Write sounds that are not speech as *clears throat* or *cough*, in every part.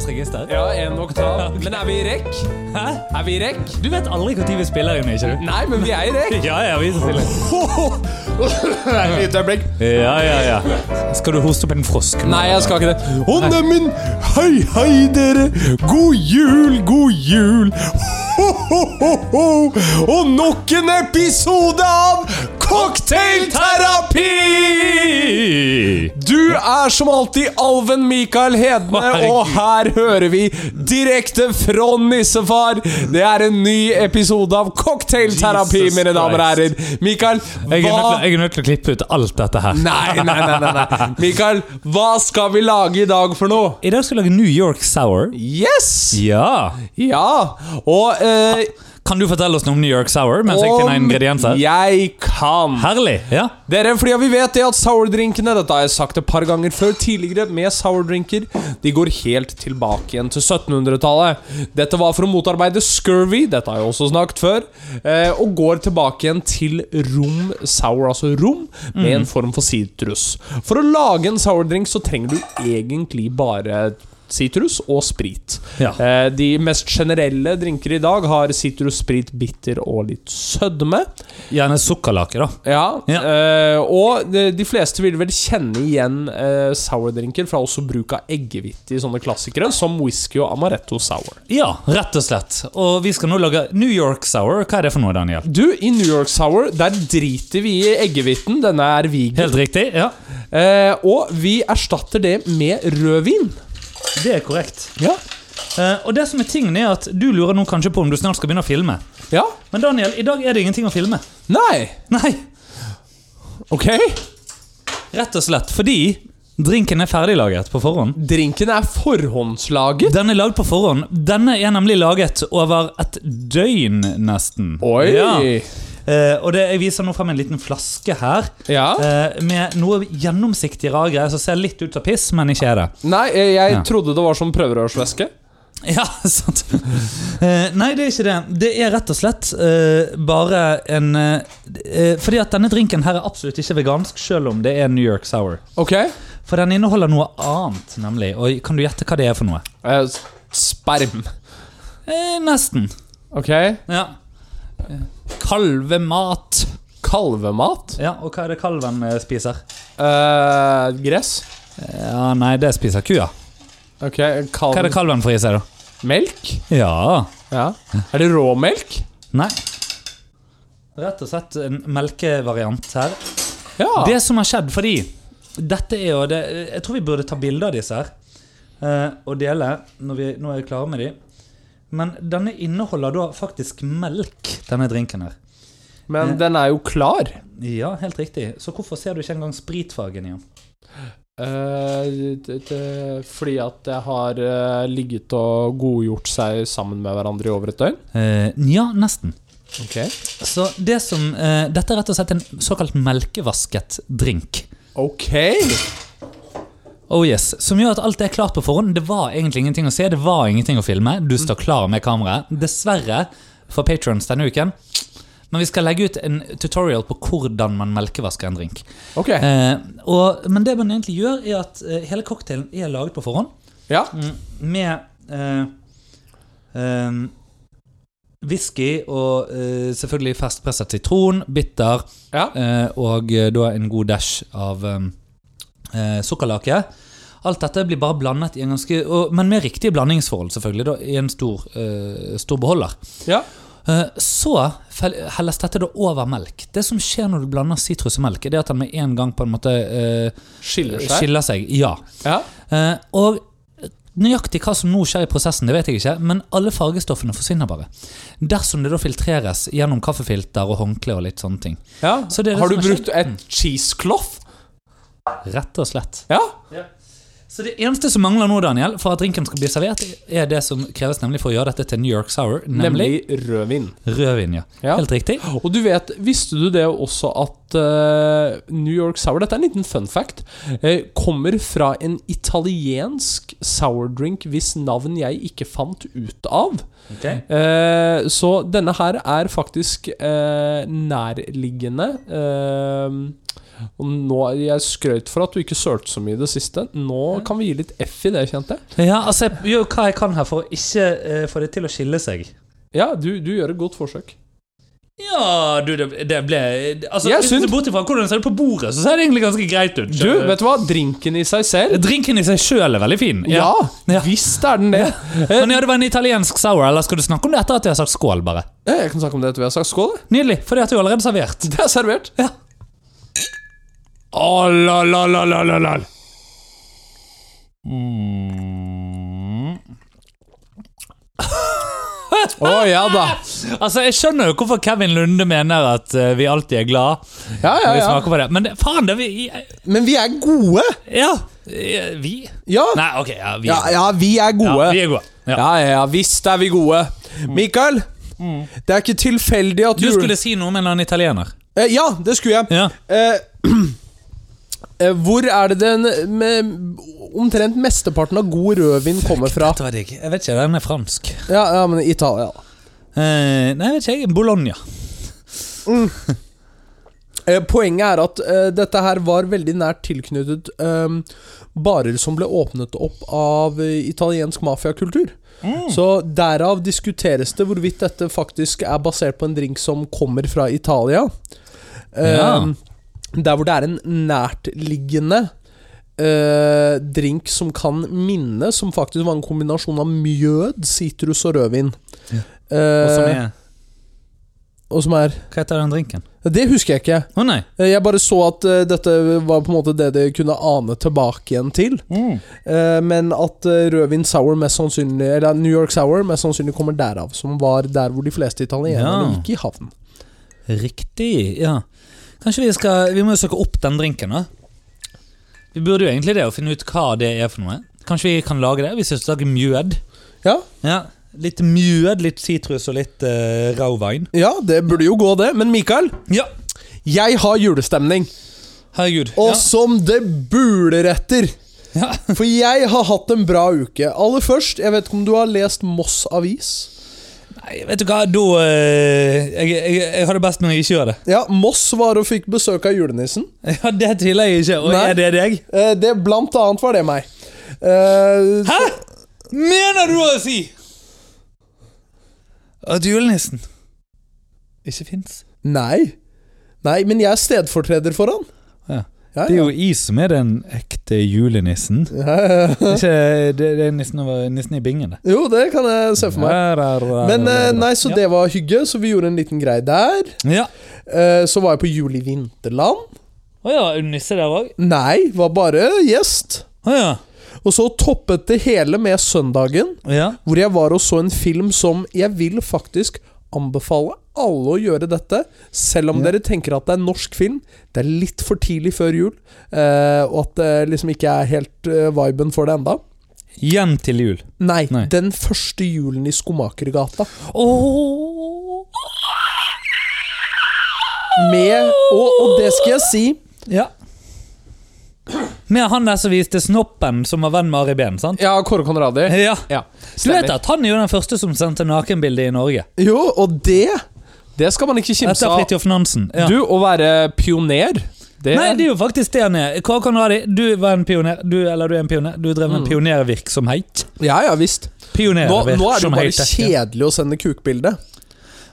styggeste? Ja, en oktav. Men er vi i rekk? Hæ? Er vi i rekk? Du vet aldri når vi spiller inn, ikke du? Nei, men vi er i rekk. Ja, ja, vi spiller Et øyeblikk. Ja, ja, ja. Skal du hoste opp en frosk? Nei, jeg skal ikke det. Å, neimen, hei, hei, dere. God jul, god jul. Ho, ho, ho, ho. Og nok en episode av Cocktailterapi! Du er som alltid alven Mikael Å, Hedne, herregud. og her hører vi direkte fra nissefar. Det er en ny episode av Cocktailterapi, Jesus mine damer og herrer. Mikael, Jeg er, nødt, hva til- jeg er nødt til å klippe ut alt dette her. Nei, nei, nei, nei, nei. Mikael, hva skal vi lage i dag for noe? I dag skal vi lage New York Sour. Yes! Ja. Ja! Og eh, Kan du fortelle oss noe om New York Sour mens jeg finner ingredienser? jeg kan Herlig. Ja. Dere, fordi vi vet det at sourdrinkene Dette har jeg sagt et par ganger før tidligere Med sourdrinker De går helt tilbake igjen til 1700-tallet Dette var for å motarbeide scurvy Dette har jeg også snakket før eh, Og går tilbake igjen til rom sour Altså rom med en form for sitrus For å lage en sourdrink så trenger du egentlig bare Sitrus og sprit Ja. eh, De mest generelle drinker i dag Har sitrus, sprit, bitter og litt sødme Gjerne sukkerlake, da. ja, Ja. eh, og de, de fleste vil vel kjenne igjen eh, sourdrinker fra også bruk av eggehvite i sånne klassikere, som whisky og amaretto sour. Ja, rett og slett. Og vi skal nå lage New York Sour. Hva er det for noe, Daniel? Du, i New York Sour, der driter vi i eggehviten. Denne er vegan. Helt riktig. Ja. Eh, og vi erstatter det med rødvin. Det er korrekt. Ja. Eh, og det som er tingen er at du lurer nå kanskje på om du snart skal begynne å filme. ja. Men Daniel, i dag er det ingenting å filme. *laughs* Nei. Nei, Ok. rett og slett fordi drinken er ferdiglaget på forhånd. Drinken er forhåndslaget. Den er lagd på forhånd. Denne er nemlig laget over et døgn, nesten. Oi. Ja. Eh, og det, jeg viser nå frem en liten flaske her Ja. eh, med noe gjennomsiktig rare greier som ser litt ut som piss, men ikke er det. Nei, jeg, jeg Ja. trodde det var som prøverørsvæske. *laughs* Ja, sant. Eh, nei, det er ikke det. Det er rett og slett eh, bare en eh, eh, Fordi at denne drinken her er absolutt ikke vegansk, selv om det er New York Sour. Ok. Eh, For den inneholder noe annet, nemlig. Og kan du gjette hva det er for noe? Eh, s- sperm. Eh, nesten. Ok. Ja. Eh, Kalvemat. Kalvemat. Ja, og hva er det kalven eh, spiser? Eh, gress. Ja, nei, det spiser kua. Ok, Hva er det kalv... kalven får i seg, da? Melk? Ja. Ja. Er det råmelk? Nei. Rett og slett en melkevariant her. Ja. Det som har skjedd, fordi dette er jo det, Jeg tror vi burde ta bilde av disse her. eh, og dele når vi nå er klare med de. Men denne inneholder da faktisk melk, denne drinken her. Men den er jo klar. Ja, helt riktig. Så hvorfor ser du ikke engang spritfargen i den? Eh, det- det- fordi at det har eh, ligget og godgjort seg sammen med hverandre i over et døgn. Eh, Nja, nesten. Ok. Så det som eh, Dette er rett og slett en såkalt melkevasket drink. Oh yes, Som gjør at alt er klart på forhånd. Det var egentlig ingenting å se, det var ingenting å filme. Du står klar med kameraet. Dessverre for patrons denne uken. Men vi skal legge ut en tutorial på hvordan man melkevasker en drink. Ok. Eh, og, men det man egentlig gjør, er at eh, hele cocktailen er laget på forhånd Ja. mm, med eh, eh, whisky og eh, selvfølgelig ferskpresset sitron, bitter ja. Eh, og eh, da en god dash av eh, eh, sukkerlake. Alt dette blir bare blandet i en ganske og, Men med riktige blandingsforhold, selvfølgelig. Da, I en stor, eh, stor beholder. ja. Eh, så fel- helles dette da over melk. Det som skjer når du blander sitrus og melk, er det at den med en gang på en måte eh, Skiller seg. skiller seg. Ja. Ja. Eh, og nøyaktig hva som nå skjer i prosessen, det vet jeg ikke, men alle fargestoffene forsvinner bare. Dersom det da filtreres gjennom kaffefilter og håndkle og litt sånne ting. ja. Så det er det har du som har skjedd. brukt et cheesecloth? Rett og slett. Ja. Så det eneste som mangler nå, Daniel, for at drinken skal bli servert, er det som kreves nemlig for å gjøre dette til New York Sour, nemlig, Nemlig rødvin. rødvin. Ja. Ja. Helt riktig. Og du vet, visste du det også at eh, New York Sour, dette er en liten fun fact, eh, kommer fra en italiensk sourdrink hvis navn jeg ikke fant ut av. Eh, så denne her er faktisk eh, nærliggende eh, Og nå, jeg skrøt for at du ikke sølte så mye i det siste. Nå kan vi gi litt F i det, kjente jeg. Ja, altså, jeg gjør hva jeg kan her for å ikke eh, få det til å skille seg. Ja, du, du gjør et godt forsøk. Ja, du, det, det ble Altså, Jeg Hvis du syns- ser bort ifra hvordan det ser ut på bordet, så ser det egentlig ganske greit ut. Du, vet du hva? Drinken i seg selv Drinken i seg sjøl er veldig fin. Ja, Ja. visst er den det. Eh, Men ja, det var en italiensk sour, eller skal du snakke om det etter at jeg har sagt skål, bare? Jeg kan snakke om det etter vi har sagt *laughs* skål. jeg. Nydelig, fordi at du allerede servert. Det er servert. Ja. Å, la, la, la, la, la, la. Å ja da. Altså, jeg skjønner jo hvorfor Kevin Lunde mener at eh, vi alltid er glad Ja, ja, når vi ja. smaker på det, men det, faen, det er vi Men vi er gode! Ja. eh, Vi? Ja, Nei, ok, ja, vi ja, er ja vi er gode. Ja, vi er gode. Ja. Mm. Ja, ja, ja, visst er vi gode. Mikael, det er ikke tilfeldig at Du jule- skulle si noe om en eller annen italiener. Eh, Ja, det skulle jeg. Ja. Eh, *clears throat* eh, hvor er det den eh, med, omtrent mesteparten av god rødvin kommer *laughs* fra? Dette var digg. Jeg vet ikke, den er fransk. Ja, ja men Italia. Eh, nei, jeg vet ikke. jeg. Bologna. Eh, poenget er at eh, dette her var veldig nært tilknyttet eh, barer som ble åpnet opp av eh, italiensk mafiakultur. Mm. Så derav diskuteres det hvorvidt dette faktisk er basert på en drink som kommer fra Italia. Eh, Ja. Der hvor det er en nærtliggende eh, drink som kan minne, som faktisk var en kombinasjon av mjød, sitrus og rødvin. Eh, Og som er, og som er hva heter den drinken? Det husker jeg ikke. Å nei. Eh, Jeg bare så at eh, dette var på en måte det de kunne ane tilbake igjen til. Eh, Men at eh, rødvin sour mest sannsynlig Eller New York sour mest sannsynlig kommer derav. Som var der hvor de fleste italienerne Ja. gikk i havn. Riktig, ja. Kanskje vi skal Vi må jo søke opp den drinken, da. Vi burde jo egentlig det, å finne ut hva det er for noe. Kanskje vi kan lage det? Hvis vi skal lage mjød. Ja, Ja. Litt mjød, litt sitrus og litt uh, rauwine. ja, det burde jo gå, det. Men Mikael, Ja. jeg har julestemning. Herregud. Og som det buler etter! Ja. Ja. For jeg har hatt en bra uke. Aller først, jeg vet ikke om du har lest Moss Avis? Nei, vet du hva, da eh, jeg, jeg, jeg har det best når jeg ikke gjør det. *laughs* Ja, Moss var og fikk besøk av julenissen. Ja, Det tviler jeg ikke. Og Nei. er det deg? Eh, Det, blant annet var det meg. Eh, Hæ?! Mener du å si at julenissen ikke fins? Nei. Nei, men jeg er stedfortreder for han. Ja. Ja, Det er ja. jo jeg som er den ekte julenissen. *laughs* Jo. Ikke, det, det er nissen, over, nissen i bingen, det. det kan jeg se for meg. Men eh, nei, så det var hygge, så vi gjorde en liten greie der. Ja. Eh, Så var jeg på jul i Vinterland. Å ja, er du nisse der òg? Nei, var bare gjest. Å ja. Og så toppet det hele med søndagen, ja. hvor jeg var og så en film som jeg vil faktisk anbefale alle å gjøre dette, selv om dere tenker at det er en norsk film. Det er litt for tidlig før jul, eh, og at det liksom ikke er helt eh, viben for det enda. Hjem til jul. Nei, Nei. den første julen i Skomakergata. Åh Med og, og det skal jeg si. Ja. Med han der som viste snoppen, som var venn med Ari Behn, sant? Ja, Kåre Conradi. Ja. Ja, Du vet stemmer. at han er jo den første som sendte nakenbilde i Norge. Jo, og det Det skal man ikke kimse Etter av. Fridtjof Nansen. Ja. Du, å være pioner det, Nei, det er jo faktisk det han er. Kåre Conradi, du var en pioner. Du, eller du er en pioner. Du drev med pionervirksomhet. Ja, ja visst. Nå, nå er det jo bare Pionervirksomhet. ja. kjedelig å sende kukbilde.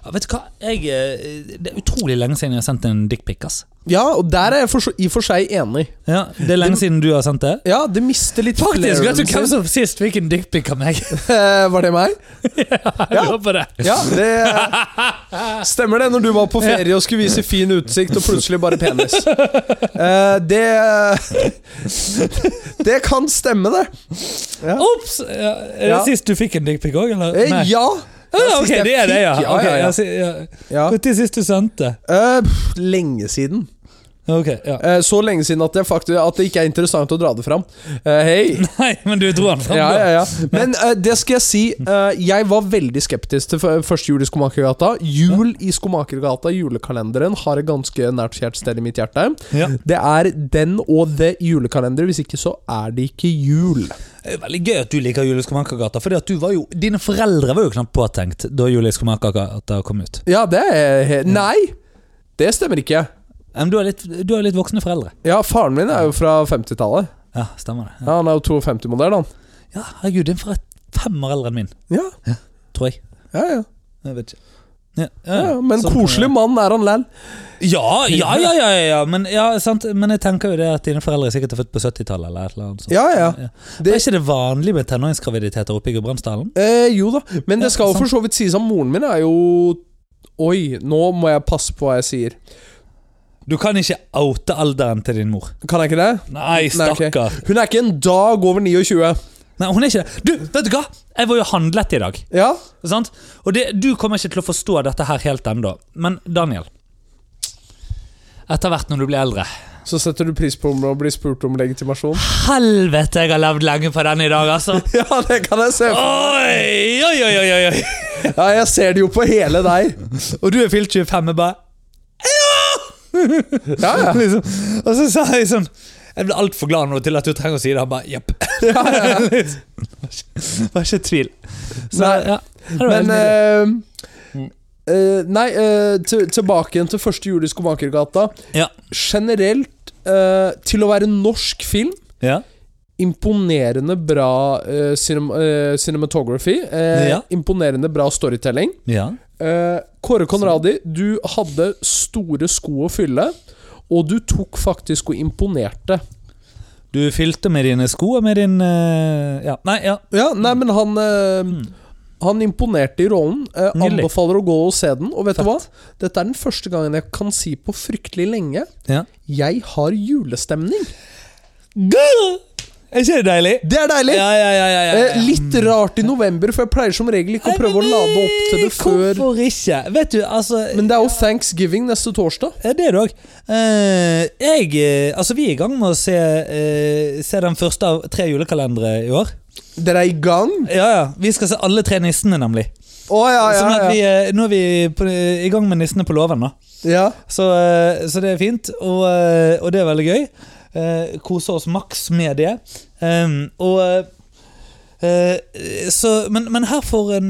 Ja, vet du hva? Jeg, eh, det er utrolig lenge siden jeg har sendt en dickpic. ass. Ja, og der er jeg for så, i og for seg enig. Ja, det er lenge siden du har sendt det. Ja, det mister litt Faktisk, vet du flairen hvem sin. som sist fikk en dickpic av meg? *laughs* Eh, *laughs* Var det meg? Jeg lurer på det. Ja, det *laughs* stemmer det. Når du var på ferie og skulle vise fin utsikt, og plutselig bare penis. Eh, det *laughs* Det kan stemme, det. Ops! Ja, er det Ja. sist du fikk en dickpic òg, eller? Eh, Nei. Ja. Ja, ok, sist jeg det er det, ja. fikk. Ok, ja, ja. jeg si- ja. Ja. Når sist du sendte? Eh, pff, lenge siden. Ok, ja. Eh, så lenge siden at, jeg faktisk, at det ikke er interessant å dra det fram. Eh, Hei! Nei, men du dro den fram. Ja, da. ja, ja. Men eh, det skal jeg si. eh, jeg var veldig skeptisk til f- første jul i Skomakergata. Jul i Skomakergata, julekalenderen, har et ganske nært kjært sted i mitt hjerte. Ja. Det er den og det julekalender. Hvis ikke, så er det ikke jul. Det er veldig gøy at du liker Julie Skomakergata. Fordi at du var jo, dine foreldre var jo knapt påtenkt da Julie Skomakergata kom ut. Ja, det er he Nei! Det stemmer ikke. Men du har litt, du har litt voksne foreldre. Ja, faren min er jo fra 50-tallet. Ja, stemmer det. Ja, Ja, han er jo 52-modell, han. ja herregud, din far er fem år eldre enn min, Ja, tror jeg. ja, ja. Jeg vet ikke. Ja, ja, ja, ja. ja. Men Sånn- koselig mann er han læl. Ja, ja, ja, ja, ja, ja. Men, ja sant? men jeg tenker jo det at dine foreldre sikkert er født på 70-tallet eller et eller annet sånt. Ja, ja. Det... Det- Er ikke det vanlig med tenåringsgraviditeter oppe i Gudbrandsdalen? Eh, jo da, men Ja, det skal jo sant. for så vidt sies at moren min er jo Oi, nå må jeg passe på hva jeg sier. Du kan ikke oute alderen til din mor. Kan jeg ikke det? Nei, Nei, ok. stakkar. Nei, Hun er ikke en dag over 29. hun er ikke det. Du, vet du hva? Jeg var jo handlet i dag. Ja? Sant? Og det, du kommer ikke til å forstå dette her helt ennå. Men Daniel Etter hvert når du blir eldre Så setter du pris på å bli spurt om legitimasjon? *laughs* Helvete, jeg har levd lenge på den i dag, *laughs* altså! Ja, det kan jeg se. Oi, oi, oi, oi, oi. Ja, jeg ser det jo på hele deg. Og du er fylt 25, jeg bare Ja, ja. *laughs* liksom. Og så sa jeg sånn Jeg ble altfor glad nå til at du trenger å si det. Han bare jepp. ja, ja. Liksom. Var ikke i tvil. Så, Nei, ja. Det var helt Men nydelig. eh, eh, Nei, eh, til, tilbake igjen til første jul i Skomakergata. Ja. Generelt, eh, til å være norsk film ja. Imponerende bra eh, cinem eh, cinematography. eh, Ja. Imponerende bra storytelling. ja. Eh, Kåre Konradi, du hadde store sko å fylle, og du tok faktisk og imponerte. Du fylte med dine sko og med din eh, Ja. Nei, ja. Ja, nei, men han eh, Han imponerte i rollen. Eh, Nydelig. anbefaler å gå og se den. Og vet du hva? Dette er den første gangen jeg kan si på fryktelig lenge ja. jeg har julestemning. Er ikke det deilig? Det er deilig! Ja, ja, ja. ja, ja, ja. Eh, litt rart i november, for jeg pleier som regel ikke å prøve å lade opp til det før eh, Hvorfor ikke? Vet du, altså Men det er jo thanksgiving neste torsdag. Ja, Det er det òg. jeg eh, Altså, vi er i gang med å se, eh, se den første av tre julekalendere i år. Dere er i gang? Ja, ja. Vi skal se alle tre nissene, nemlig. Å ja, Sånn at ja, vi, ja. eh, nå er vi på, eh, i gang med Nissene på låven, da. ja. Så, eh, så det er fint, og, eh, og det er veldig gøy. Eh, Kose oss maks med det. Em, og eh, eh, så, men, men her for en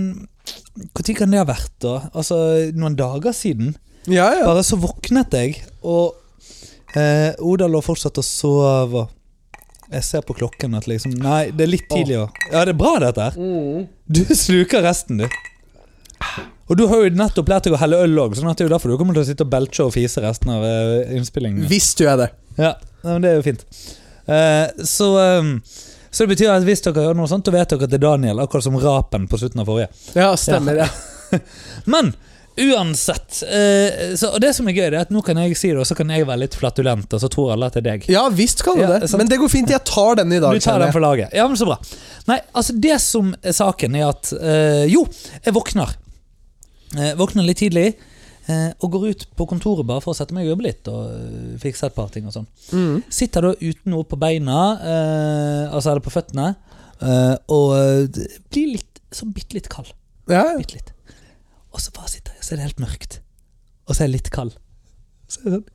Når kan det ha vært, da? Altså noen dager siden? ja, ja. Bare så våknet jeg, og eh, Oda lå fortsatt og sov. og Jeg ser på klokken at liksom Nei, det er litt tidlig. å- Ja, det er bra, dette her. Mm. Du sluker resten, du. Og du har jo nettopp lært deg å helle øl òg, sånn at det er jo derfor du kommer til å sitte og belche og fise resten av eh, innspillingen. Visst gjør jeg det. Ja, ja, men det er jo fint. Eh, så, eh, så det betyr at hvis dere hører noe sånt, da vet dere at det er Daniel, akkurat som rapen på slutten av forrige. Ja, stemmer. Ja. Men uansett eh, så, Og det som er gøy, det er at nå kan jeg si det, og så kan jeg være litt flatulent, og så tror alle at det er deg. *laughs* Ja visst kan du Ja, det. sant. Men det går fint. Jeg tar den i dag. Du tar kjenner den jeg. for laget. Ja, men så bra. Nei, altså det som er saken, er at eh, Jo, jeg våkner. Eh, våkner litt tidlig. eh, og går ut på kontoret bare for å sette meg og jobbe litt og eh, fikse et par ting. og sånn Mm. Sitter da uten noe på beina, eh, altså eller på føttene, eh, og eh, blir litt sånn bitte litt kald. Ja, ja. bitte litt. Og så bare sitter jeg, så er det helt mørkt. Og så er jeg litt kald. Så er jeg sånn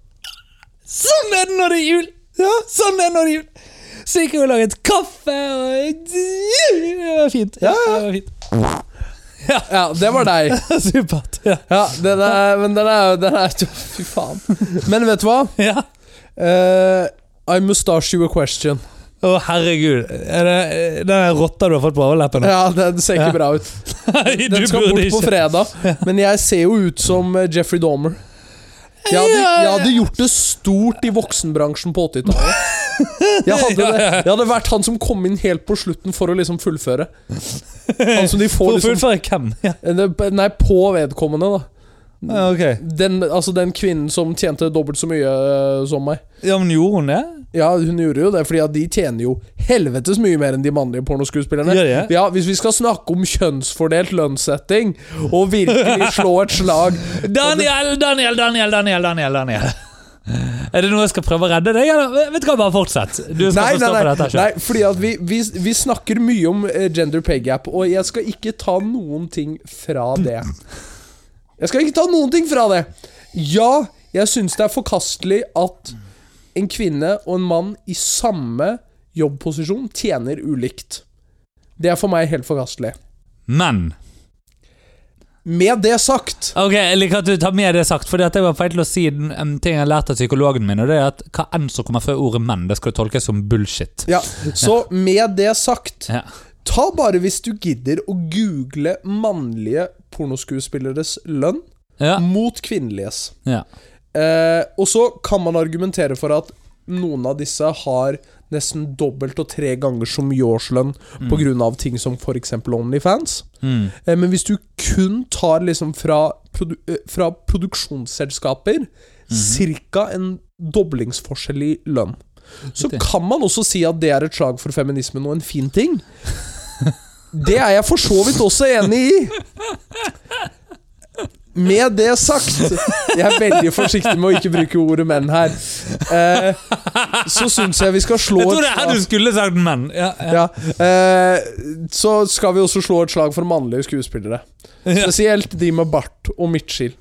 Sånn er det når det er jul! Ja, sånn er det når det er jul! Så gikk jeg og laget kaffe, og det var fint. Ja, det var fint. *laughs* ja, det var deg. Supert. Ja. Ja, den er, men den er, den er Fy faen. Men vet du hva? ja. Eh, I mustache you a question. Å, herregud. Er det den rotta du har fått på overleppen? Ja, Den ser ikke Ja. bra ut. Nei, *laughs* du Den skal burde bort på ikke. *laughs* fredag. Men jeg ser jo ut som eh, Jeffrey Dahmer. Jeg hadde, jeg hadde gjort det stort i voksenbransjen på *laughs* 80-tallet. Jeg, hadde det. jeg hadde vært han som kom inn helt på slutten for å liksom *laughs* fullføre. Han som de får For å liksom fullføre hvem? Ja. Nei, på vedkommende, da. Ja, ok. Den, altså den kvinnen som tjente dobbelt så mye øh, som meg. ja, men gjorde hun det? Ja, hun gjorde jo det, fordi at de tjener jo helvetes mye mer enn de mannlige pornoskuespillerne. Gjør de det? Ja, Hvis vi skal snakke om kjønnsfordelt lønnssetting, og virkelig slå et *laughs* slag Daniel, Daniel, Daniel, Daniel, Daniel, Daniel. Er det noe jeg skal prøve å redde deg? Eller? Vet du hva, bare fortsett. Du skal få Nei, nei, stå for nei, dette selv. nei, fordi at vi, vi, vi snakker mye om eh, gender pay gap, og jeg skal ikke ta noen ting fra det. Jeg skal ikke ta noen ting fra det! Ja, jeg syns det er forkastelig at en kvinne og en mann i samme jobbposisjon tjener ulikt. Det er for meg helt forkastelig. Men Med det sagt Ok, Jeg liker at du tar med det sagt, for det var feil til å si den em, ting jeg lærte av psykologen min, og det er at hva enn som kommer før ordet 'menn', det skal tolkes som bullshit. ja, Så med det sagt Ja. Ta bare hvis du gidder å google mannlige pornoskuespilleres lønn Ja, mot kvinneliges. ja. Eh, og så kan man argumentere for at noen av disse har nesten dobbelt og tre ganger så mye årslønn på grunn av ting som f.eks. Onlyfans. Mm. Eh, men hvis du kun tar liksom fra, produ eh, fra produksjonsselskaper Mhm. ca. en doblingsforskjell i lønn, så Riktig. kan man også si at det er et slag for feminismen og en fin ting. Det er jeg for så vidt også enig i. Med det sagt Jeg er veldig forsiktig med å ikke bruke ordet menn her. Eh, så syns jeg vi skal slå Jeg tror et det er her slag- du skulle sagt 'menn'. Ja, ja. ja. eh, så skal vi også slå et slag for mannlige skuespillere. Ja. Spesielt de med bart og midtskill.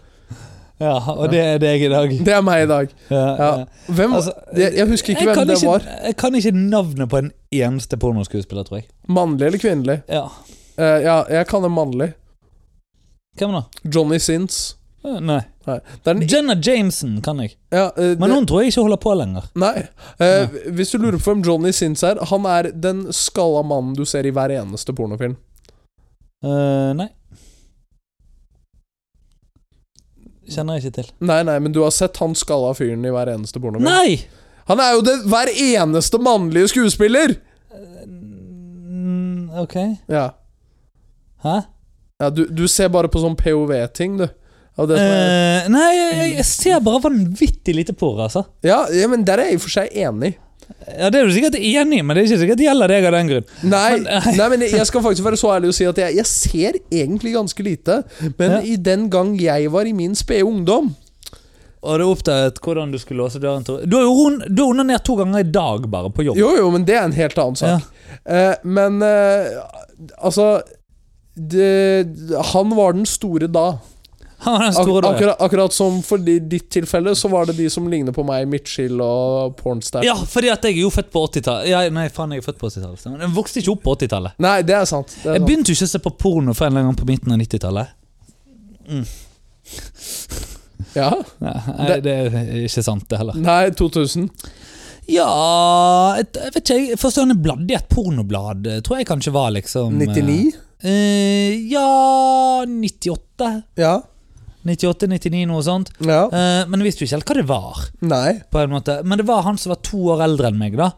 ja, og det er deg i dag. Det er meg i dag. Ja, Ja. ja. Hvem, Altså, jeg, jeg husker ikke jeg hvem kan det ikke, var. Jeg kan ikke navnet på en eneste pornoskuespiller, tror jeg. Mannlig eller kvinnelig? Ja. Eh, ja, jeg kan det mannlig. Hvem da? Johnny Sins. Eh, Nei. Nei. Det er den, Jenna Jameson kan jeg. ja, eh, Men det, hun tror jeg ikke holder på lenger. nei. Eh, hvis du lurer på hvem Johnny Sins er, han er den skalla mannen du ser i hver eneste pornofilm. Eh, nei. Kjenner jeg ikke til. Nei, nei, men du har sett han skalla fyren i hver eneste pornofilm. Nei! Han er jo det hver eneste mannlige skuespiller! Mm, ok. Ja Hæ? Ja, du, du ser bare på sånn POV-ting, du. Ja, det som er, Eh, nei, jeg, jeg ser bare vanvittig lite porr, altså. ja, ja, men der er jeg i og for seg enig. Ja, Det er du sikkert enig i, men det er ikke sikkert det gjelder deg av den grunn. Nei, Men, *laughs* men, nei, men jeg skal faktisk være så ærlig og si at jeg, jeg ser egentlig ganske lite. Men Ja. i den gang jeg var i min spede ungdom Og du oppdaget hvordan du skulle låse døren til Du har jo on- du har onanert to ganger i dag, bare, på jobb. Jo, jo, men det er en helt annen sak. Eh, men eh, altså det, Han var den store da. Han var den Ak store da, ja. akkurat, akkurat som for di- ditt tilfelle, så var det de som ligner på meg, Midtskill og Pornstar. Ja, fordi at jeg er jo født på 80-tallet. Ja, nei, faen, jeg er født på 80-tallet. stemmer. Jeg vokste ikke opp på 80-tallet. Nei, det er sant. Det er Jeg sant. begynte jo ikke å se på porno før en eller annen gang på midten av 90-tallet. Ja. Ja, nei, det er ikke sant, det heller. Nei, 2000. Ja Jeg jeg vet ikke, jeg. Første gang jeg bladde i et pornoblad, eh, tror jeg kanskje var liksom eh, 99? eh, ja 98. Ja. 98-99, noe sånt. ja. Eh, men jeg visste jo ikke helt hva det var. Nei. på en måte. Men det var han som var to år eldre enn meg, da.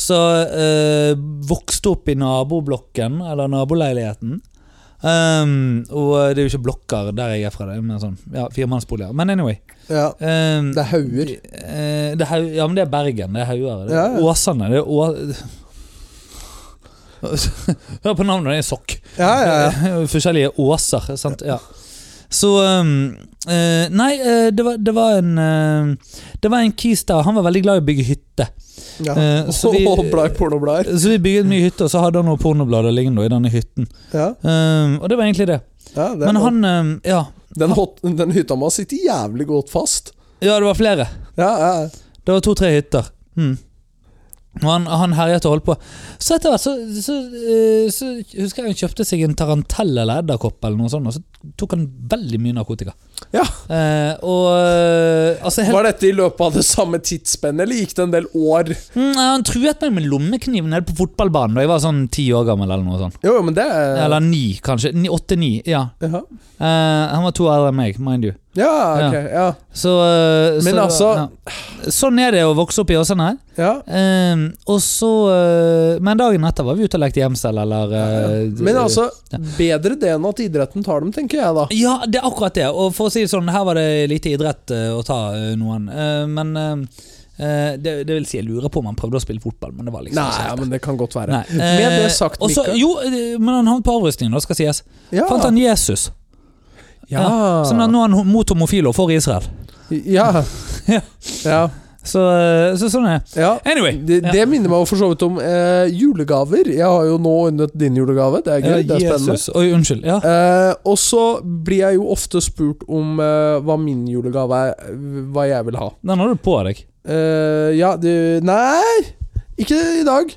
Så eh, vokste opp i naboblokken, eller naboleiligheten. Ehm, og det er jo ikke blokker der jeg er fra, det er mer sånn ja, firemannsboliger. Men anyway. Ja. ehm, Det er hauger. eh, det er Hau- ja, men det er Bergen. Det er Hauger. Det er Ja, ja. Åsane. Det er Å... *laughs* Hør på navnet, det er sokk. Ja, ja, ja. *laughs* Forskjellige åser, sant. Ja. Så um, eh, Nei, eh, det, var, det var en eh, Det var en kis der. Han var veldig glad i å bygge hytte. ja. Eh, så *laughs* vi- Åh, blei pornoblader. Så vi bygde mye hytte, og så hadde han noen pornoblader liggende i denne hytten. Ja, Um, og det var egentlig det. ja, det er Men bra. han um, ja. den, hot, den hytta må sitte jævlig godt fast. ja, det var flere. Ja, ja. Det var to-tre hytter. Hmm. Mm. Og han, han herjet og holdt på. Så etter hvert så, så, eh, så husker jeg han kjøpte seg en tarantell eller edderkopp eller noe sånt, og så tok han veldig mye narkotika. Ja. Eh, og eh, altså helt, Var dette i løpet av det samme tidsspennet, eller gikk det en del år? mm, Han truet meg med lommekniv nede på fotballbanen da jeg var sånn ti år gammel eller noe sånt. Jo, jo, men det er- Eller ni, kanskje. Ni- Åtte-ni. Ja. ja. Eh, han var to år eldre enn meg, mind you. ja, ok. Ja. Så, eh, så Men det var- altså- ja. Sånn er det å vokse opp i Åsane. her. ja. Ehm, og så eh, Men dagen etter var vi ute og lekte gjemsel, eller eh, Men altså, bedre det enn at idretten tar dem, tenker jeg da. Ja, det er akkurat det. Og for å si det sånn, her var det lite idrett eh, å ta eh, noen. Eh, men eh, eh, det, det vil si, jeg lurer på om han prøvde å spille fotball, men det var liksom Nei, ikke helt ja, det. men det kan godt være. Nei. Med Eh, det sagt, og så- Mikael- Jo, eh, men han havnet på avrustningen, da, skal sies. Ja. Fant han Jesus. Ja. Sånn at nå er han ho- mot homofile og for Israel. Ja. Ja. ja. Så, eh, så sånn er det. ja. Anyway. Det, det minner meg jo for så vidt om eh, julegaver. Jeg har jo nå unnet din julegave. Det er gøy. Ja, det er Eh, spennende. Jesus. Oi, unnskyld. Ja. Eh, og så blir jeg jo ofte spurt om eh, hva min julegave er, hva jeg vil ha. Den har du på deg. Eh, ja, du Nei, ikke i dag.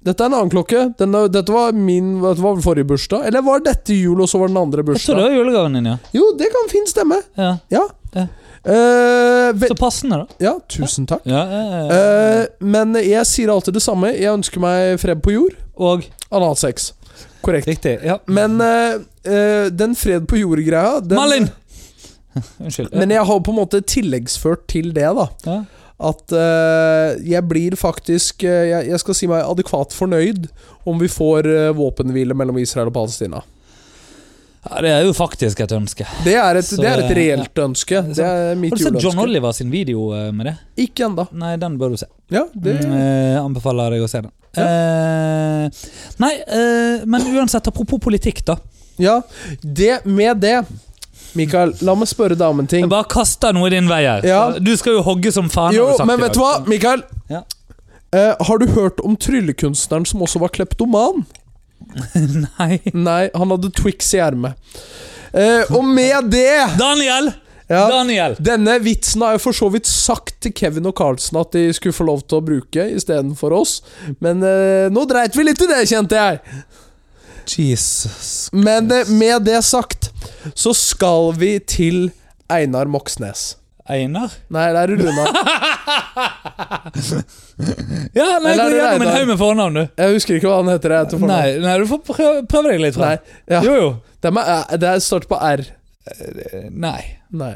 Dette er en annen klokke. Den er, dette var min dette var vel forrige bursdag. Eller var dette jul, og så var den andre Jeg tror bursdag? det var julegaven din, ja. Jo, det kan fint stemme. ja. Ja. Ja. Eh, ve Så passende, da. ja, tusen takk. Ja, ja, ja. Eh, men jeg sier alltid det samme. Jeg ønsker meg fred på jord. Og Analsex. Korrekt. Riktig. ja Men eh, eh, den fred på jord-greia den- Malin! *laughs* Unnskyld. Men jeg har på en måte tilleggsført til det, da. ja. At eh, jeg blir faktisk eh, jeg, jeg skal si meg adekvat fornøyd om vi får eh, våpenhvile mellom Israel og Palestina. ja, Det er jo faktisk et ønske. Det er et, Så eh, det er et det- reelt ønske. Det er mitt Har du sett John juleønske. Oliver sin video eh, med det? Ikke ennå. Nei, den bør du se. Ja, det Mm, eh, anbefaler deg å se den. Ja. Eh, nei, eh, men uansett, apropos politikk, da. Ja, det med det Mikael, la meg spørre deg om en ting. Jeg bare kaster noe din vei her. Ja. Du skal jo hogge som faen. Jo, har sagt men i vet du hva, dag. *laughs* Mikael? Ja. Eh, har du hørt om tryllekunstneren som også var *laughs* kleptoman? Nei. Nei, han hadde Twix i ermet. Eh, og med det Daniel! ja, Daniel! Denne vitsen har jeg for så vidt sagt til Kevin og Carlsen at de skulle få lov til å bruke istedenfor oss, men eh, nå dreit vi litt i det, kjente jeg. Jesus. Men eh, med det sagt, så skal vi til Einar Moxnes. Einar? Nei, det er Runa. Ja, nei, Eller gå gjennom er det en Reidar? haug med fornavn, du. Jeg husker ikke hva han heter. Jeg, til fornavn. Nei, nei, du får prøve, prøve deg litt fram. Nei. Ja. Jo, jo. Det, er, æ- det er start på R. Eh, Nei. Nei.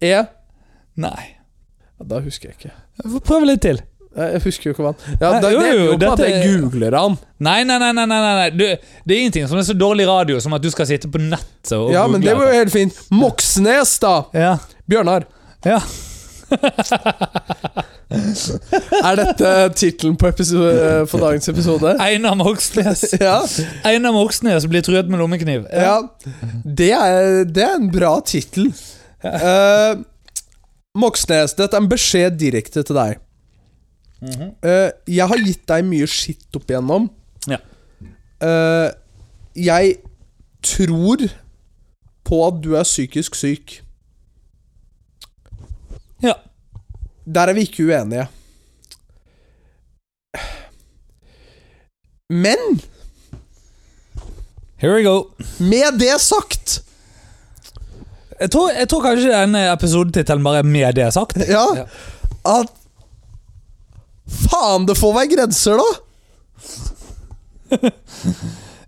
E? Ja, Nei. da husker jeg ikke. Jeg får prøve litt til. Jeg jeg husker jo ikke hva han ja, Nei, det, jo, det er jo, jo på at dette jeg er- googler han. Nei, nei, nei. nei, nei, nei. nei. Du, det er ingenting som er så dårlig radio som at du skal sitte på nettet og Ja, men det var jo helt fint. Moxnes, da! ja. Bjørnar. ja. *laughs* Er dette tittelen på, episo- på dagens *laughs* episode? Einar Moxnes. Ja. Einar Moxnes blir truet med lommekniv. ja. Det er, det er en bra tittel. Eh, Moxnes, dette er en beskjed direkte til deg. Mhm. Eh, jeg har gitt deg mye skitt opp igjennom. Ja. Eh, jeg tror på at du er psykisk syk. Ja. Der er vi ikke uenige. Men Here we go. med det sagt Jeg tror, jeg tror kanskje denne episodetittelen bare er med det sagt. Ja, Ja. at Faen, det får være grenser, da!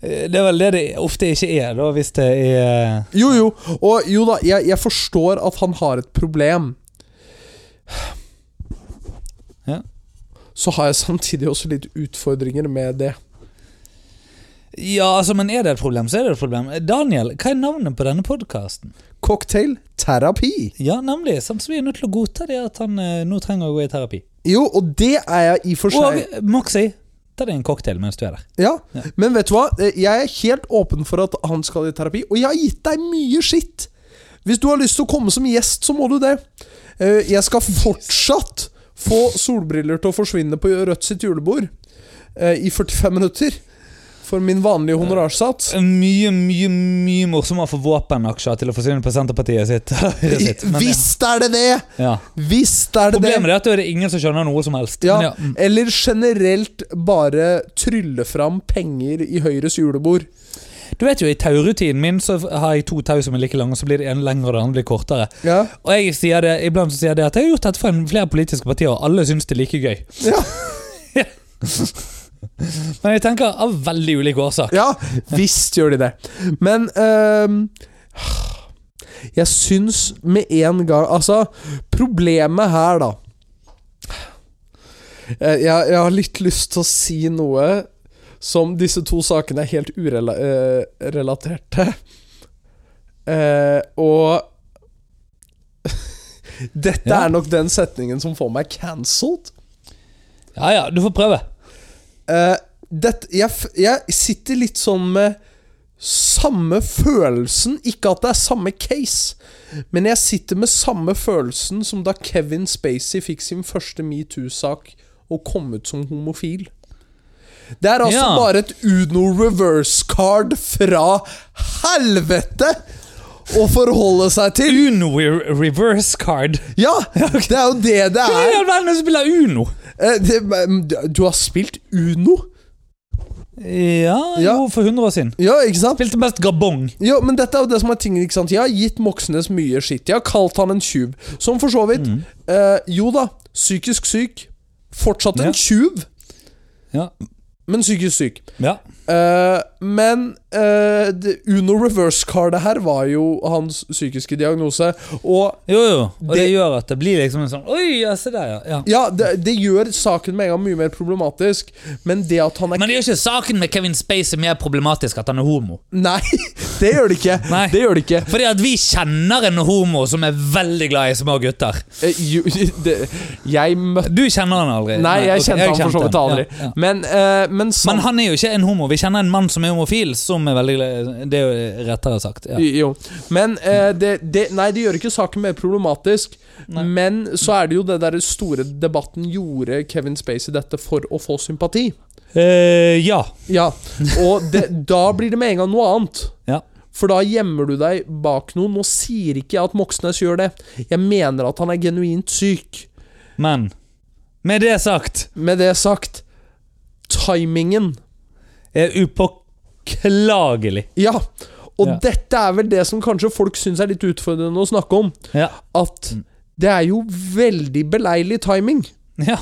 Det er vel det det ofte ikke er, da, hvis det er Jo, jo. Og jo da, jeg, jeg forstår at han har et problem. Ja. Så har jeg samtidig også litt utfordringer med det. Ja, altså, men er det et problem, så er det et problem. Daniel, hva er navnet på denne podkasten? Cocktailterapi. Ja, nemlig. Sånn som vi er nødt til å godta det at han eh, nå trenger å gå i terapi. Jo, og det er jeg i og for Og seg. eh, Moxie, ta deg en cocktail mens du er der. Ja. Men vet du hva? Eh, Jeg er helt åpen for at han skal i terapi, og jeg har gitt deg mye skitt. Hvis du har lyst til å komme som gjest, så må du det. Eh, Jeg skal fortsatt få solbriller til å forsvinne på Rødt sitt julebord eh, i 45 minutter. For min vanlige honorarsats. Mye, mye, mye morsommere for våpenaksjer til å forsvinne på Senterpartiet sitt. *laughs* Høyre sitt, men ja. Hvis det er det det! Ja. Hvis det er det det! Problemet er at da er det ingen som skjønner noe som helst. Ja, Men ja. mm. Eller generelt bare trylle fram penger i Høyres julebord. Du vet jo, I taurutinen min så har jeg to tau som er like lange, og så blir det ene lengre og det andre blir kortere. Ja. Og jeg sier det, Iblant så sier jeg det at jeg har gjort dette for en- flere politiske partier, og alle syns det er like gøy. *laughs* Ja. Men jeg tenker av veldig ulik årsak. *laughs* Ja, visst gjør de det. Men ehm, Jeg syns med en gang Altså, problemet her, da Eh, jeg, jeg har litt lyst til å si noe som disse to sakene er helt eh, urelaterte. Eh, og *laughs* Dette Ja. er nok den setningen som får meg cancelled. Ja ja, du får prøve. Eh, dette, jeg, f- jeg sitter litt sånn med samme følelsen Ikke at det er samme case, men jeg sitter med samme følelsen som da Kevin Spacey fikk sin første metoo-sak og kom ut som homofil. Det er altså Ja. bare et Uno reverse card fra helvete å forholde seg til! Uno i reverse card. Ja, det er jo det det Hva er er! det i all verden som spiller Uno? Eh, det, du har spilt Uno? Ja, Ja. jo, for 100 år siden. Ja, ikke sant? Spilte best gabong. Jo, men dette er jo det som er tingen, ikke sant? Jeg har gitt Moxnes mye skitt. Jeg har kalt han en tjuv. Som for så vidt Mm. eh, Jo da, psykisk syk. Fortsatt en Ja. tjuv, Ja. men psykisk syk. ja. Eh, men eh, det Uno reverse-cardet her var jo hans psykiske diagnose. Og Jo, jo. Og det, Det- gjør at det blir liksom en sånn Oi, ja, se der, ja. ja. ja, det, det gjør saken med en gang mye mer problematisk, men det at han er Men det er jo ikke saken med Kevin Spacey mer problematisk at han er homo. Nei, *laughs* det gjør det ikke. Nei. Det gjør det ikke. Fordi at vi kjenner en homo som er veldig glad i små gutter. Eh, jo, *laughs* det, jeg møtte Du kjenner han aldri. Nei, jeg ok, kjente han for så vidt han. aldri. Ja, ja. Men, eh, men, sam- Men han er jo ikke en homo. Vi kjenner en mann som er homofil, som er veldig glad Det er jo rettere sagt. Ja. Jo. Men eh, det, det Nei, det gjør ikke saken mer problematisk. Nei. Men så er det jo det der store debatten Gjorde Kevin Spacey dette for å få sympati? Eh, ja. Ja. Og det, da blir det med en gang noe annet. Ja. For da gjemmer du deg bak noen. Nå sier ikke jeg at Moxnes gjør det. Jeg mener at han er genuint syk. Men med det sagt Med det sagt Timingen. er upåklagelig. Ja. Og Ja. dette er vel det som kanskje folk syns er litt utfordrende å snakke om. Ja. At Mm. det er jo veldig beleilig timing. Ja.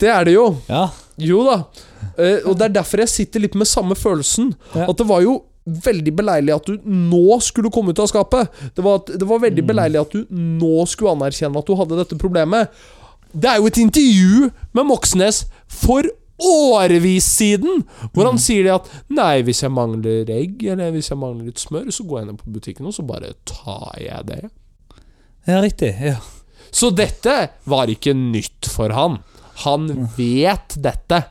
Det er det jo. ja. Jo da. Eh, og det er derfor jeg sitter litt med samme følelsen. Ja. At det var jo veldig beleilig at du nå skulle komme ut av skapet. Det var, at, det var veldig beleilig at du nå skulle anerkjenne at du hadde dette problemet. Det er jo et intervju med Moxnes for årevis siden, hvor han sier det at Nei, hvis jeg mangler egg, eller hvis jeg mangler litt smør, så går jeg ned på butikken, og så bare tar jeg det. Ja, riktig. Ja. Så dette var ikke nytt for han. Han vet dette.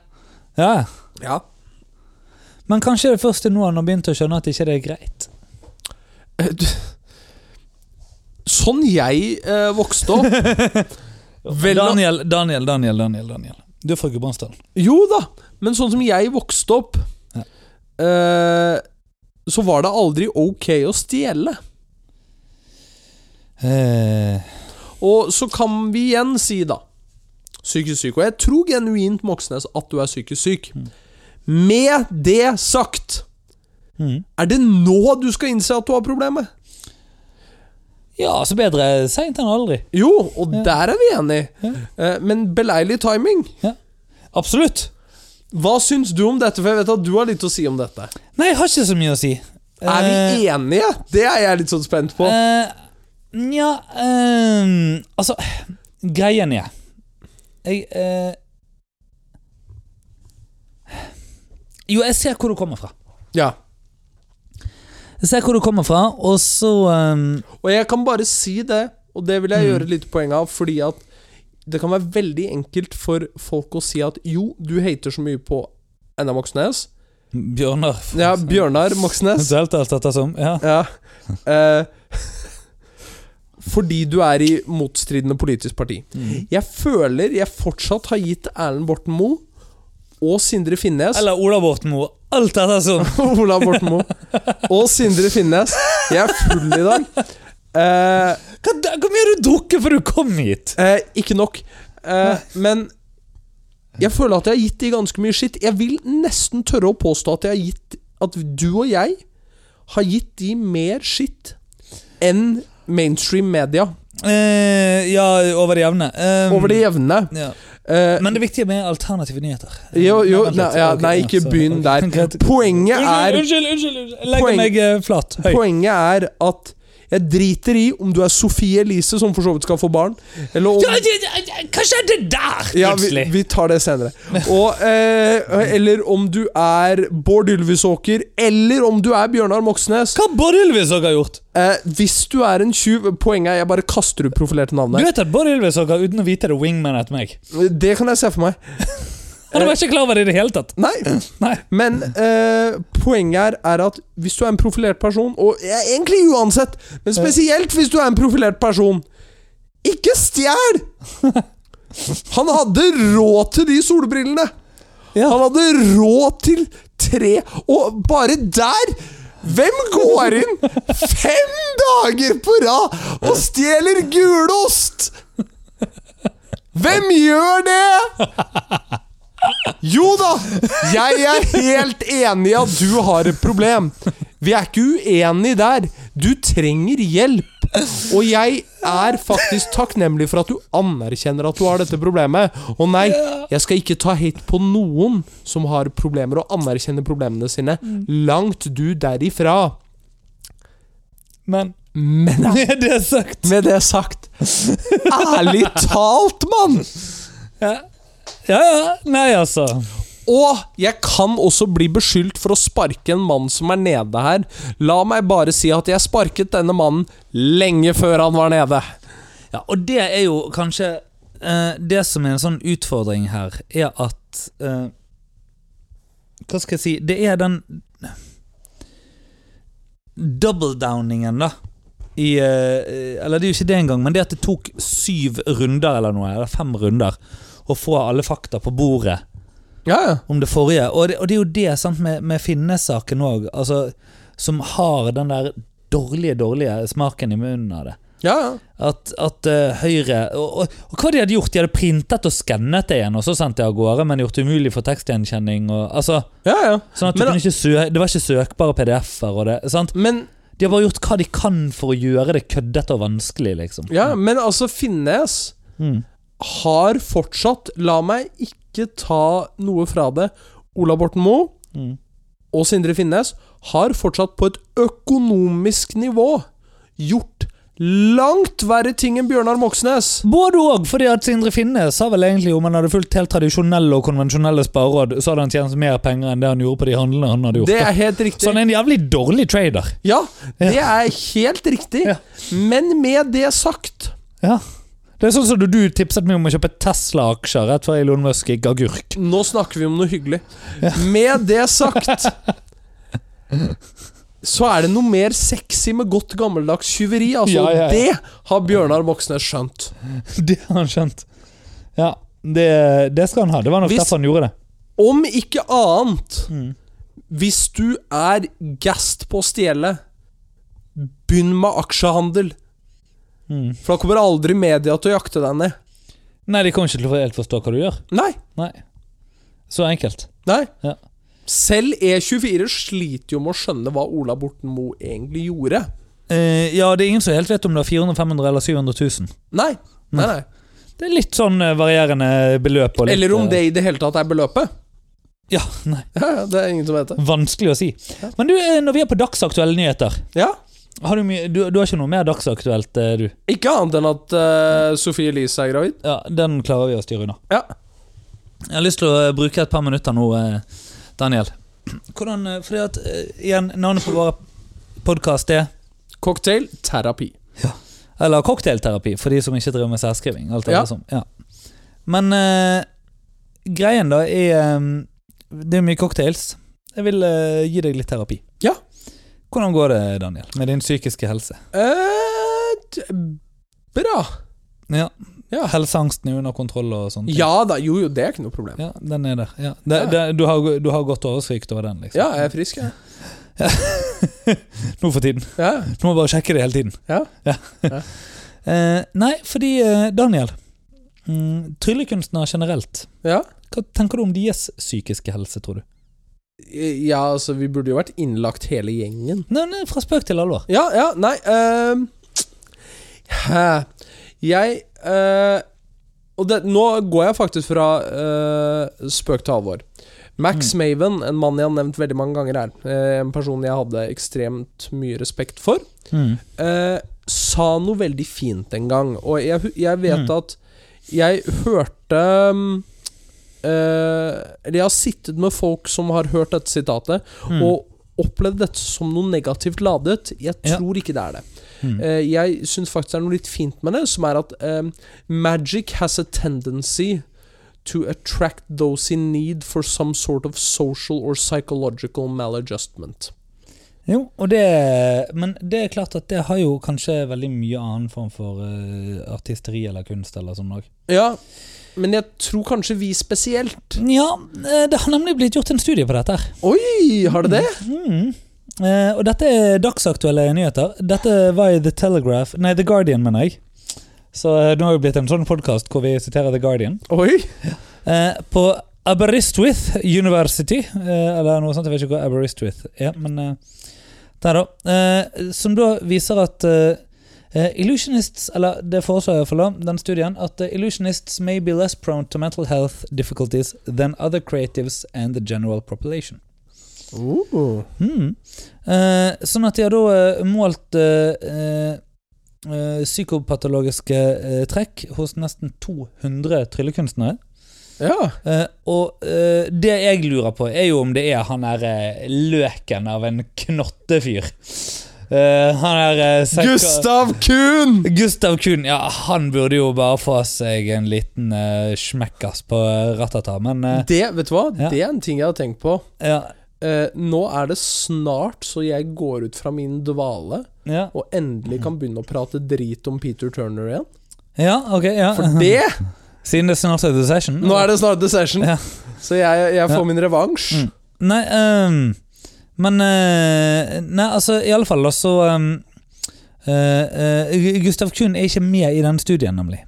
ja. Ja. Men kanskje det første nå han har begynt å skjønne at ikke det er greit. Eh, d- Sånn jeg eh, vokste opp Vel, da- Daniel, Daniel, Daniel, Daniel. Daniel. Du er fra Gudbrandsdalen. Jo da, men sånn som jeg vokste opp Ja. eh, Så var det aldri ok å stjele Eh, Og så kan vi igjen si da Psykisk syk Og jeg tror genuint Moxnes at du er psykisk syk Med det sagt Mhm. Er det nå du skal innse at du har problemet? ja, så bedre seint enn aldri. Jo, og der er vi enige Eh, Men beleilig timing Absolutt. Hva syns du om dette? For jeg vet at du har litt å si om dette. Nei, jeg har ikke så mye å si. Eh, Er vi enige? Det er jeg litt sånn spent på. Nja eh, Altså, greien er Jeg eh, Jo, jeg ser hvor du kommer fra. Ja. Jeg ser hvor du kommer fra, og så eh, Og jeg kan bare si det, og det vil jeg gjøre litt poeng av, fordi at det kan være veldig enkelt for folk å si at jo, du hater så mye på Anna Moxnes. Bjørnar. Ja, Bjørnar *laughs* Moxnes. Eventuelt alt dette som Ja. Ja. Eh, *laughs* fordi du er i motstridende politisk parti. Jeg føler jeg fortsatt har gitt Erlend Borten Moe og Sindre Finnes Eller Ola Borten Moe. Alt dette *laughs* som *laughs* Ola Borten Moe og Sindre Finnes. Jeg er full i dag. Eh, Hva, da- hvor mye har du drukket før du kom hit? eh, ikke nok. Eh, men jeg føler at jeg har gitt de ganske mye skitt. Jeg vil nesten tørre å påstå at jeg har gitt At du og jeg har gitt de mer skitt enn mainstream media. Eh, ja, over det jevne. Eh, Over det jevne. ja. Eh, Men det viktige med alternative nyheter. jo, jo, Nei, vent nei, litt. ja, Ok, nei, ja, ikke sorry. begynn Ok, der. *laughs* greit. Poenget er Unnskyld, unnskyld, unnskyld. Jeg legger Poeng- meg eh, flat. Høy. Poenget er at jeg driter i om du er Sofie Elise, som for så vidt skal få barn, eller om Ja, ja, ja, ja, Hva skjedde der, Ja, plutselig? vi, vi tar det senere. Og, eh, eller om du er Bård Ylvisåker, eller om du er Bjørnar Moxnes. Hva Bård Ylvisåker har gjort? Eh, hvis du er en tjuv Poenget er jeg bare kaster ut profilerte Du navnet. vet at Bård Ylvisåker uten å vite det wingman etter meg. Det kan jeg se for meg. Eh. Han var ikke klar over det i det hele tatt. Nei. *clears throat* Nei. Men eh, poenget er, er at hvis du er en profilert person, og ja, egentlig uansett, Eh. men spesielt hvis du er en profilert person Ikke *laughs* stjel! Han hadde råd til de solbrillene! Ja. Han hadde råd til tre Og bare der hvem går inn fem dager på rad og stjeler gulost? Hvem gjør det? Jo da! Jeg er helt enig i at du har et problem. Vi er ikke uenige der. Du trenger hjelp. Og jeg er faktisk takknemlig for at du anerkjenner at du har dette problemet. Og nei, jeg skal ikke ta hate på noen som har problemer, og anerkjenner problemene sine. Langt du derifra. Men Men *laughs* Med det sagt med det sagt Ærlig talt, mann! Ja, ja. ja. Nei, altså. Og jeg kan også bli beskyldt for å sparke en mann som er nede her. La meg bare si at jeg sparket denne mannen lenge før han var nede. Ja, og det er jo kanskje eh, Det som er en sånn utfordring her, er at eh, Hva skal jeg si Det er den double-downingen, da. I, eh, eller det er jo ikke det engang, men det at det tok syv runder eller noe, eller fem runder, å få alle fakta på bordet Ja, ja. om det forrige. Og det, og det er jo det sant, med, med Finnes-saken òg, altså, som har den der dårlige, dårlige smaken i munnen av det. ja, At, at eh, Høyre og, og, og hva de hadde gjort? De hadde printet og skannet det igjen, og så sendt det av gårde, men gjort det umulig for tekstgjenkjenning. Og, altså, ja, ja. sånn at du Men- kunne ikke sø Det var ikke søkbare PDF-er. Og det, sant? Men, De har bare gjort hva de kan for å gjøre det køddete og vanskelig, liksom. ja, men altså, Finnes Mm. har fortsatt La meg ikke ta noe fra det. Ola Borten Moe Mm. og Sindre Finnes har fortsatt på et økonomisk nivå gjort langt verre ting enn Bjørnar Moxnes. Både òg, fordi at Sindre Finne sa vel egentlig om han hadde fulgt helt tradisjonelle og konvensjonelle spareråd, så hadde han tjent mer penger enn det han gjorde på de handlene han hadde gjort. Det er helt riktig. Så han er en jævlig dårlig trader. Ja, det er helt riktig. Ja. Men med det sagt Ja. Det er sånn som du, du tipset meg om å kjøpe Tesla-aksjer rett før Elon Musk gikk agurk. Nå snakker vi om noe hyggelig. Med det sagt Så er det noe mer sexy med godt gammeldags tyveri. Altså, Ja, ja, ja. Det har Bjørnar Moxnes skjønt. *laughs* Det har han skjønt. Ja, det, det skal han ha. Det var nok Hvis- derfor han gjorde det. Om ikke annet, Mm. hvis du er gassed på å stjele, begynn med aksjehandel. Mm. For da kommer aldri media til å jakte deg ned. Nei, de kommer ikke til å helt forstå hva du gjør. Nei. Nei. Så enkelt. Nei. Ja. Selv E24 sliter jo med å skjønne hva Ola Borten Moe egentlig gjorde. Eh, ja, det er ingen som helt vet om det er 400 500 eller 700 000. Nei. Nei, nei. Det er litt sånn eh, varierende beløp. Og Mm. litt, Eller om eh, det i det hele tatt er beløpet. *laughs* Ja, nei. Ja, ja, det er ingen som vet det. Vanskelig å si. Men du, eh, når vi er på dagsaktuelle nyheter Ja. har du, mye, du, du har ikke noe mer dagsaktuelt, eh, du? Ikke annet enn at eh, Sophie Elise er gravid. Ja, Den klarer vi å styre unna. Ja. Jeg har lyst til å eh, bruke et par minutter nå, eh, Daniel. Hvordan, eh, fordi at, eh, igjen, Navnet på vår podkast er Cocktail terapi. Eller cocktailterapi, for de som ikke driver med særskriving. Alt det Ja. der som, ja. Men eh, greien da er eh, Det er mye cocktails. Jeg vil eh, gi deg litt terapi. Ja. Hvordan går det, Daniel, med din psykiske helse? Eh, d- bra. Ja. Ja. Helseangsten er under kontroll og sånt? Ja da. Jo, jo, det er ikke noe problem. Ja, den er der. Ja. Det, Det, du, har, du har godt oversikt over den, liksom? Ja, jeg er frisk, jeg. Nå for tiden. Ja. Du må bare sjekke det hele tiden. Ja. Ja. *laughs* Eh, nei, fordi eh, Daniel mm, Tryllekunstnere generelt, Ja. hva tenker du om deres psykiske helse, tror du? ja, altså, vi burde jo vært innlagt hele gjengen. Nei, nei, Fra spøk til alvor. Ja, ja, nei ehm, hæ, Jeg eh, Og det, nå går jeg faktisk fra eh, spøk til alvor. Max Maven, en mann jeg har nevnt veldig mange ganger her, eh, en person jeg hadde ekstremt mye respekt for, eh, sa noe veldig fint en gang. Og jeg, hu- jeg vet Mm. at jeg hørte mm, eh, Eller jeg har sittet med folk som har hørt dette sitatet, Mm. og opplevd dette som noe negativt ladet. Jeg Ja. tror ikke det er det. Mm. Eh, jeg syns faktisk det er noe litt fint med det, som er at eh, magic has a tendency to attract those in need for some sort of social or psychological maladjustment. Jo, og det Men det er klart at det har jo kanskje veldig mye annen form for eh, artisteri eller kunst eller sånn òg. Ja, men jeg tror kanskje vi spesielt. Ja, eh, det har nemlig blitt gjort en studie på dette her. Oi, har det det? Mm. Eh, og dette er dagsaktuelle nyheter. Dette var i The Telegraph Nei, The Guardian, mener jeg. Så eh, nå har det blitt en sånn podkast hvor vi siterer The Guardian. Oi! Eh, på Aberystwyth University, eh, eller noe sånt. Jeg vet ikke hva Aberystwyth er, men eh, der, da. Eh, Som da viser at eh, eh, Illusionists, eller det foreslår jeg iallfall, den studien, at eh, illusionists may be less prone to mental health difficulties than other creatives and the general population. Mm. Eh, sånn at de har da eh, målt eh, eh, eh, psykopatologiske eh, trekk hos nesten 200 tryllekunstnere. Ja. Eh, og eh, det jeg lurer på, er jo om det er han der eh, løken av en knottefyr. Eh, han der eh, sekka- Gustav Kuhn! Gustav Kuhn. Ja, han burde jo bare få seg en liten eh, smekkas på eh, ratata, men eh, Det, vet du hva? Ja. Det er en ting jeg har tenkt på. ja, Eh, nå er det snart så jeg går ut fra min dvale ja. og endelig kan begynne å prate drit om Peter Turner igjen. Ja, ok. ja *laughs* For det Siden det snart er The Session. Nå er det snart The Session, Ja. så jeg, jeg får Ja. min revansj. Mm. Nei, ehm, men eh, Nei, altså, i alle fall da, så ehm, eh, eh, Gu- Gustav Kuhn er ikke med i den studien, nemlig.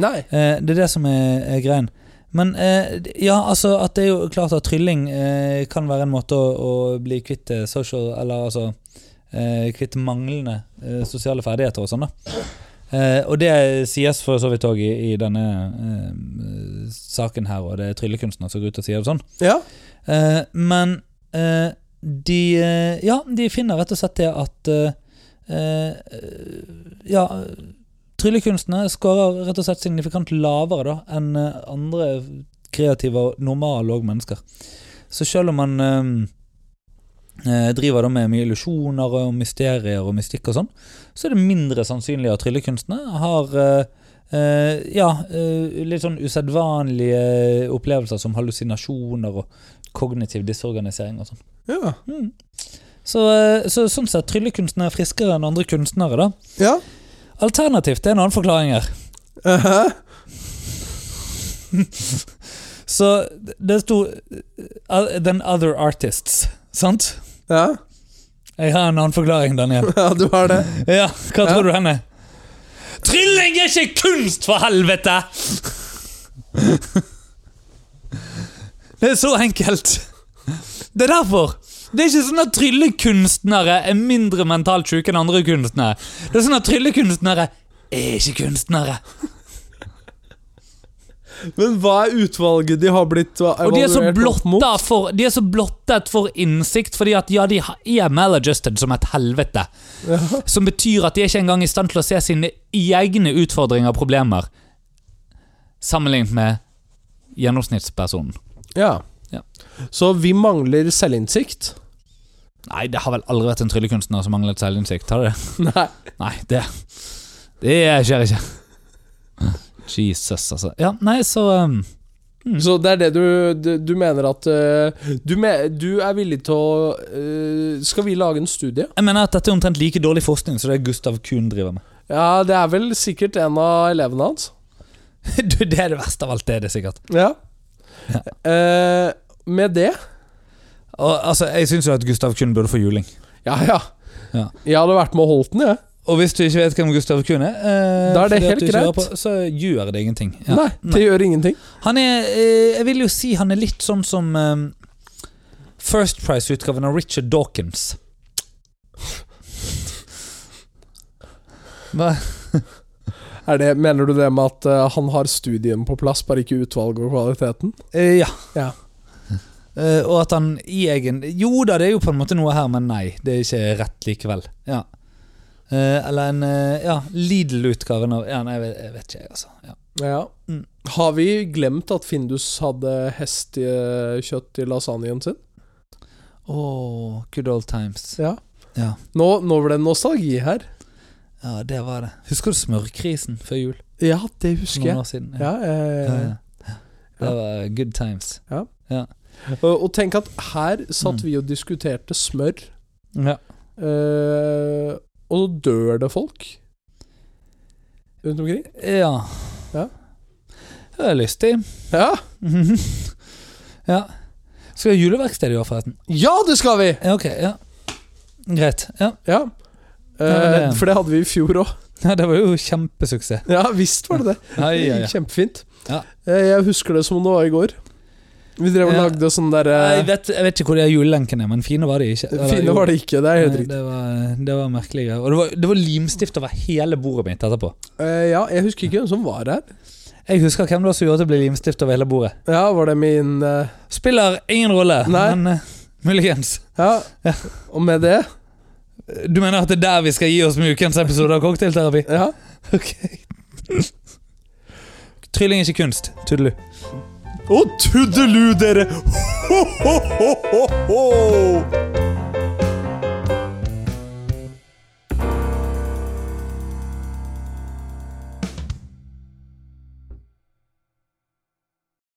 Nei. Eh, det er det som er, er greien. Men eh, ja, altså, at det er jo klart at trylling eh, kan være en måte å, å bli kvitt eh, social Eller altså eh, Kvitt manglende eh, sosiale ferdigheter og sånn, da. Eh, og det sies for så vidt òg i, i denne eh, saken her, og det er tryllekunstnere som går ut og sier det sånn. Ja. Eh, men eh, de eh, Ja, de finner rett og slett det at eh, eh, Ja, tryllekunstnere skårer rett og slett signifikant lavere da enn eh, andre kreative og normale òg mennesker. Så selv om man eh, eh, driver da med mye illusjoner og mysterier og mystikk og sånn, så er det mindre sannsynlig at tryllekunstnere har eh, eh, ja, eh, litt sånn usedvanlige opplevelser som hallusinasjoner og kognitiv disorganisering og sånn. Ja. Mm. Så, eh, så sånn sett, tryllekunstnere er friskere enn andre kunstnere, da. ja. Alternativt det er en annen forklaring her. *laughs* Uh-huh. Så det sto eh, Den other artists, sant? ja. Jeg har en annen forklaring, Daniel. ja, du har det. *laughs* Ja, hva Ja. tror du henne? Trylling er ikke kunst, for helvete! *laughs* Det er så enkelt. Det er derfor. Det er ikke sånn at tryllekunstnere er mindre mentalt syke enn andre kunstnere. Det er sånn at tryllekunstnere er ikke kunstnere. Men hva er utvalget de har blitt uh, Og de er så evaluert opp mot? blotta for, de er så blottet for innsikt, fordi at ja, de ha- er maladjusted som et helvete. Som betyr at de er ikke engang i stand til å se sine egne utfordringer og problemer. Sammenlignet med gjennomsnittspersonen. Ja. Ja. Så vi mangler selvinnsikt? Nei, det har vel aldri vært en tryllekunstner som manglet selvinnsikt, har det? *laughs* Nei. Nei, det Det skjer ikke. Jesus, altså. Ja, nei, så um, Så det er det du, du, du mener at eh, du, me, du er villig til å eh, Skal vi lage en studie? Jeg mener at dette er omtrent like dårlig forskning som det Gustav Kuhn driver med. *laughs* Ja, det er vel sikkert en av elevene hans. Du, det er det verste av alt, det er det sikkert. Ja. Ja. Eh, med det Og, altså, jeg syns jo at Gustav Kuhn burde få juling. Ja, ja. Ja. Jeg hadde vært med og holdt den, jeg. Og hvis du ikke vet hvem Gustav Kuhn er, eh, Da er det fordi at helt du ikke hører greit. på, så gjør det ingenting. Ja. Nei, det gjør ingenting. Han er eh, Jeg vil jo si han er litt sånn som eh, First Price-utgaven av Richard Dawkins. Hva? Er det, mener du det med at eh, han har studien på plass, bare ikke utvalget og kvaliteten? Eh, ja. Ja. Eh, og at han i egen Jo da, det er jo på en måte noe her, men nei. Det er ikke rett likevel. Ja. Eh, eller en eh, Ja, Lidl-utgaven av Ja, nei, jeg vet, jeg vet ikke, jeg, altså. Ja. Ja. Mm. Har vi glemt at Findus hadde hestekjøtt i lasagnen sin? Åh, good old times. Ja. Ja. Nå, nå ble det nostalgi her. Ja, det var det. Husker du smørkrisen før jul? Ja, det husker Noen jeg. år siden. Ja, eh, Ja, ja. Det var good times. Og, og tenk at her satt Mm. vi og diskuterte smør, Ja. eh, og så dør det folk rundt omkring. ja. Ja. Det var lystig. *laughs* Ja, Mhm. ja. Skal vi ha juleverksted i år, forresten? ja det skal vi! Ja, ok. Ja. Greit. Ja. Ja. Ja, Eh, det- for det hadde vi i fjor òg. ja, det var jo kjempesuksess. *laughs* Ja visst var det det. Ai, Det ai, gikk ai. kjempefint. Ja. Eh, Jeg husker det som det var i går. Vi drev og Ja. lagde sånn der Jeg eh, vet, jeg vet ikke hvor de her julelenken er, men fine var de ikke. Eller, Fine var det ikke, det er jo, helt nei, riktig. det var, det var merkelig greier. Og det var, det var limstift over hele bordet mitt etterpå. Eh, ja, jeg husker ikke hvem som var her. Jeg husker hvem det var som gjorde at det ble limstift over hele bordet. Ja, var det min eh, Spiller ingen rolle, Nei. men eh, muligens. Ja. Ja. Og med det Du mener at det er der vi skal gi oss med ukens episode av Cocktailterapi? Ja. Ok. Trylling er ikke kunst. Tudelu. Å, tuddelu, dere! Ho, ho, ho, ho, ho!